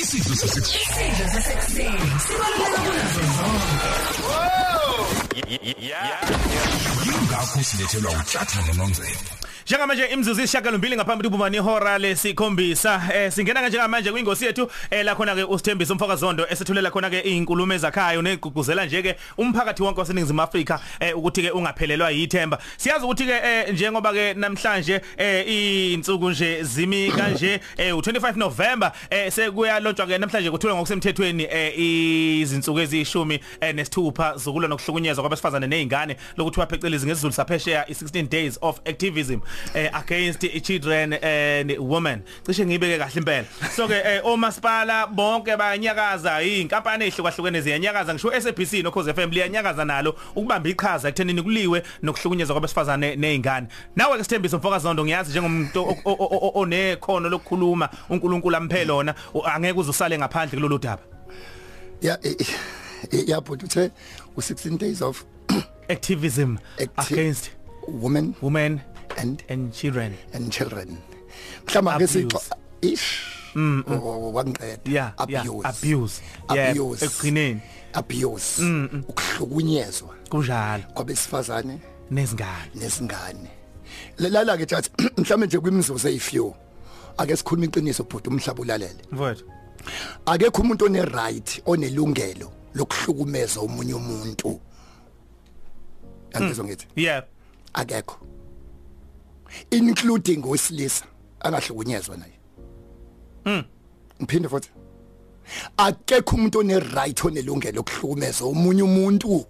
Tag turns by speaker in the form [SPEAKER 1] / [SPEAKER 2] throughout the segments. [SPEAKER 1] isidlo sasekuseni yingakho silethelwa uthatha nononzelo
[SPEAKER 2] njengamanje imzuzu isishiyagalombili ngaphambi kubuma nehora lesikhombisa eh singena ke njengamanje kwingosi yethu eh la khona ke usithembisa umfakazondo esethulela khona ke izinkulumo ezakhayo negugudzela nje ke umphakathi wonke waseningizimu Afrika eh ukuthi ke ungaphelelwa yithemba siyazi ukuthi ke eh, njengoba ke namhlanje eh izinsuku nje zimi kanje eh u25 November eh sekuya lontshwa ke namhlanje kuthulwa ngokusemthethweni eh izinsuku ezishumi eh, nesithupha zokulwa nokuhlukunyezwa kwabesifazane nezingane lokuthiwa phecelezi ngesiZulu saphesheya i16 days of activism eh, against children and women cishe ngiyibeke kahle impela so ke eh, omasipala bonke bayanyakaza inkampani ezihlukahlukene ziyanyakaza ngisho SABC nokhoze FM liyanyakaza nalo ukubamba iqhaza ekuthenini kuliwe nokuhlukunyezwa kwabesifazane nezingane nawe ke sithembiso mfokazondo ngiyazi njengomuntu o- o- o- o- onekhono lokukhuluma uNkulunkulu amphele lona u- angeke uze usale ngaphandle kulolu daba
[SPEAKER 3] ya eh, eh, yabhuti uthe u16 days of
[SPEAKER 2] activism
[SPEAKER 3] Acti-
[SPEAKER 2] against
[SPEAKER 3] women
[SPEAKER 2] women
[SPEAKER 3] and
[SPEAKER 2] and children
[SPEAKER 3] and children mhlamba ngesixo
[SPEAKER 2] Abuse. Mm,
[SPEAKER 3] ish wangiqeda
[SPEAKER 2] yeah yeah abuse yeah ekugcineni Mm,
[SPEAKER 3] abuse ukuhlukunyezwa
[SPEAKER 2] kunjalo
[SPEAKER 3] kwabesifazane
[SPEAKER 2] nezingane
[SPEAKER 3] nesingane lala ke jathi mhlamba nje kwimizuzu eyifew ake sikhuluma iqiniso bhuti umhlaba ulalele
[SPEAKER 2] mfowethu
[SPEAKER 3] akekho umuntu one right onelungelo lokuhlukumeza omunye umuntu angizwe
[SPEAKER 2] Mm.
[SPEAKER 3] ngithi
[SPEAKER 2] yeah
[SPEAKER 3] akekho including osilisa angahlukunyezwa naye mm ngiphinde futhi akekho umuntu one right onelungelo okuhlukumeza omunye umuntu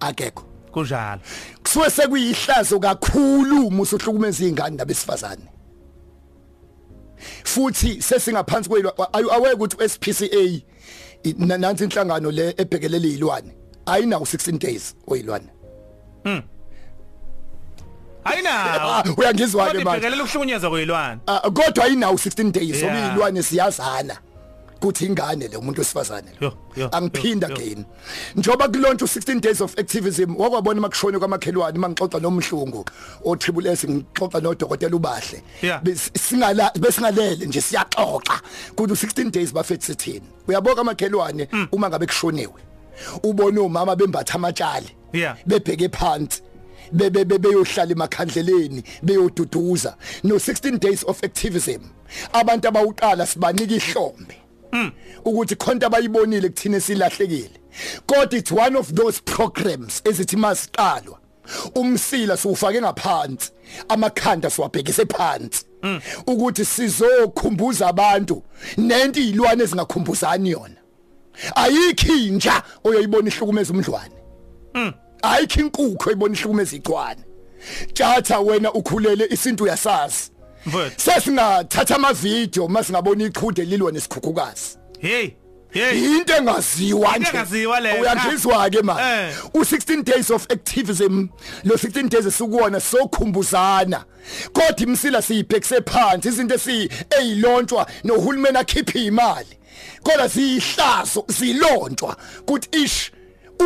[SPEAKER 3] akekho
[SPEAKER 2] kunjalo
[SPEAKER 3] kusuke sekuyihlazo kakhulu musu hlukumeza izingane nabesifazane futhi sesingaphansi kwelwa aweke ukuthi SPCA i- na- nansi inhlangano le ebhekelele izilwane ayinawo 16 days oyilwane
[SPEAKER 2] ayinawo
[SPEAKER 3] Ah, uyangizwa ke manje
[SPEAKER 2] kodibhekelela ukuhlukunyezwa kwezilwane
[SPEAKER 3] Ah, kodwa ayinawo 16 days
[SPEAKER 2] Yeah.
[SPEAKER 3] obiyilwane siyazana kuthi ingane le umuntu wesifazane lo.
[SPEAKER 2] Yo, yo,
[SPEAKER 3] angiphinda
[SPEAKER 2] yo, yo.
[SPEAKER 3] again njoba kulontsha u16 days of activism wakwabona makushone kwamakhelwane mangixoxa nomhlungu otriple S ngixoxa nodokotela ubahle
[SPEAKER 2] Yeah.
[SPEAKER 3] Bes- singala besingalele nje siyaxoxa kuthi u16 days bafethi sithini uyaboka amakhelwane
[SPEAKER 2] Mm.
[SPEAKER 3] uma ngabe kushoniwe ubona omama bembatha amatshali
[SPEAKER 2] Yeah.
[SPEAKER 3] bebheke phansi bebe beyohlala emakhandleleni beyoduduza no 16 days of activism abantu abawuqala sibanika ihlombe ukuthi khonto abayibonile kuthina silahlekile kodwa it's one of those programs ezithi masiqalwa umsila siwufake ngaphansi amakhanda siwabhekise phansi ukuthi sizokhumbuza abantu nento izilwane ezingakhumbuzani yona ayikhi inja oyoyibona ihlukumeza umdlwane ayikho inkukhu ebona ihlukumeza igcwane tjatha wena ukhulele isintu yasazi
[SPEAKER 2] mfowethu
[SPEAKER 3] sesingathatha amavidiyo masingabona iqhude lilwa nesikhukhukazi
[SPEAKER 2] hey hey
[SPEAKER 3] into engaziwa
[SPEAKER 2] Into engaziwa leyo.
[SPEAKER 3] uyangizwa ke
[SPEAKER 2] Eh.
[SPEAKER 3] ma u16 days of activism lo 16 days esikuona sokhumbuzana kodwa imsila siyibhekise phansi izinto esi eyilontshwa nohulumeni akhiphe imali kodwa siyihlazo silontshwa kuthi ish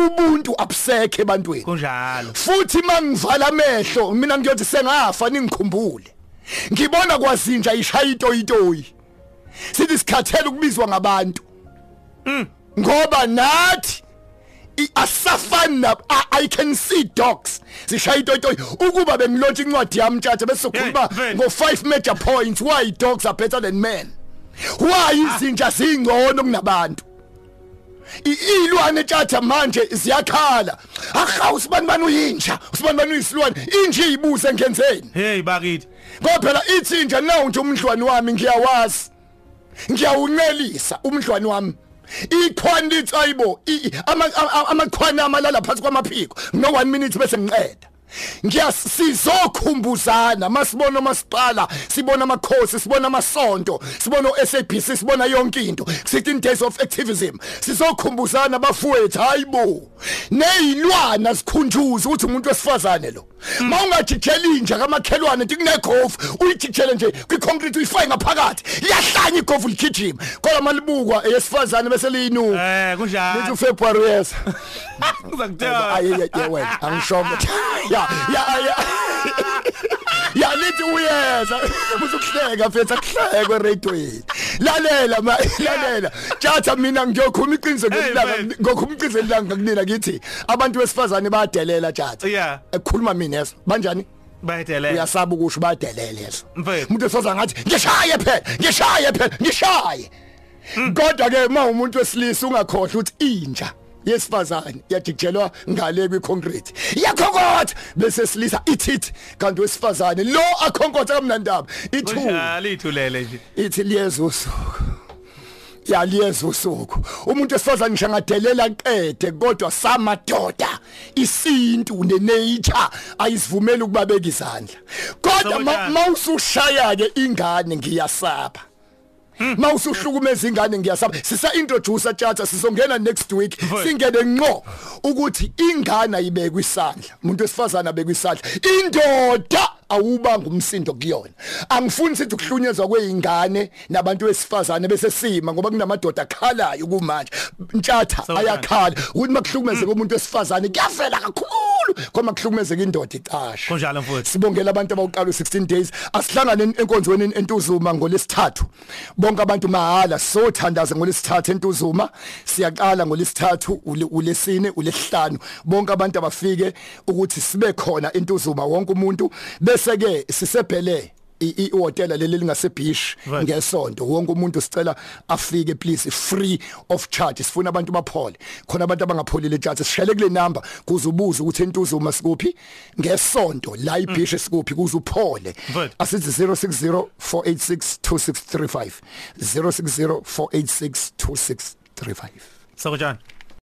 [SPEAKER 3] ubuntu abusekhe ebantwini
[SPEAKER 2] kunjalo
[SPEAKER 3] futhi mangivala amehlo mina ngiyothi sengafa ningikhumbule ngibona kwazinja ishaya itoyitoyi sithi sikhathele ukubizwa ngabantu ngoba nathi i- asafani nabo I- i can see dogs sishaya itoyitoyi ukuba bengilotsha incwadi yami tshata
[SPEAKER 2] Hey,
[SPEAKER 3] besizokhuluma
[SPEAKER 2] Vele.
[SPEAKER 3] ngo-five major points why dogs are better than men why izinja zingcono kunabantu I- iy'lwane tshada manje ziyakhala aha usibani bani uyinja usibani bani uyisilwane inja iyibuze ngenzeni
[SPEAKER 2] hey bakithi
[SPEAKER 3] ngoba phela ithi inja nawu nje umdlwane wami ngiyawazi ngiyawuncelisa umdlwane wami ikhwani litsayibo i- ama- a- a- amakhwana amalala phansi kwamaphiko no-1 minute bese ngiqeda ngisizokhumbuzana masibona omasipala sibona amakhosi sibona amasonto sibona o-sabc sibona yonke into 16 days of activism sizokhumbuzana abafowethu hayi bo neyilwana zikhunjuze ukuthi umuntu wesifazane lo ma ungajijeli inja kamakhelwane nti kunegofu uyijijele nje kwiconcrete uyifake ngaphakathi liyahlanya igofu ligijima kodwa malibukwa eyesifazane bese liyinuka
[SPEAKER 2] eh
[SPEAKER 3] lithi
[SPEAKER 2] kunjalo
[SPEAKER 3] ufebruary yes Ah,
[SPEAKER 2] ngizakutshela
[SPEAKER 3] ayeyeyewena angishongo ya ya ya ya lithi uyeza ubuze ukuhleka mfethu akuhlekwe eradweni E. lalela ma lalela tjatha mina ngiyokhuma iqiniso
[SPEAKER 2] Hey,
[SPEAKER 3] ngelanga
[SPEAKER 2] man.
[SPEAKER 3] ngokhuma iqiniso ngelanga kunina kithi abantu besifazane bayadelela tjatha
[SPEAKER 2] Yeah.
[SPEAKER 3] ekukhuluma mina yeso banjani
[SPEAKER 2] bayedelela
[SPEAKER 3] uyasaba ukusho bayadelela yeso
[SPEAKER 2] Mfethu.
[SPEAKER 3] umuntu esoza ngathi ngishaye phela ngishaye phela ngishaye kodwa ke uma umuntu wesilisa ungakhohle ukuthi inja yesifazane yajikijelwa ngale kwiconcrete yakhonkotha bese silisa ithithi kanti wesifazane lo akhonkotha kamnandaba ithu
[SPEAKER 2] kunjalo ithulele nje
[SPEAKER 3] ithi liyezo usuku yaliyezo usuku umuntu esifazane ngishangadelela nkede kodwa samadoda isintu nenature ayisivumeli ukubabeka izandla kodwa
[SPEAKER 2] Sokunjalo.
[SPEAKER 3] mawusushaya ke ingane ngiyasaba mawusuhlukumeza ingane ngiyasaba sisa introduce tjata sizongena next week
[SPEAKER 2] Mfowethu.
[SPEAKER 3] singene ngqo ukuthi ingane ayibekwe isandla umuntu wesifazana abekwe isandla indoda awubanga umsindo kuyona angifuni sithi kuhlunyezwa kweingane nabantu besifazane bese sima ngoba kunamadoda akhalayo kumanje ntjatha
[SPEAKER 2] Sawubona. Mm.
[SPEAKER 3] ayakhala ukuthi makuhlukumezeke umuntu wesifazane kuyafela kakhulu koma kuhlukumezeke indoda icasha
[SPEAKER 2] Kunjalo mfowethu.
[SPEAKER 3] sibongela abantu abawuqala u16 days asihlangane enkonzweni entuzuma ngolesithathu bonke abantu mahala sothandaza ngolesithathu entuzuma siyaqala ngolesithathu ule- ulesine ulesihlanu bonke abantu abafike ukuthi sibe khona entuzuma wonke umuntu bese ke sisebhele i- i- ihotela leli lingasebhish
[SPEAKER 2] Right.
[SPEAKER 3] ngesonto wonke umuntu sicela afike please free of charge sifuna abantu baphole khona abantu abangapholile charge sishale kule number kuze ubuze ukuthi entuzuma sikuphi ngesonto la ibhishe sikuphi kuze uphole
[SPEAKER 2] Right.
[SPEAKER 3] asithi 0604862635 0604862635
[SPEAKER 2] sokunjani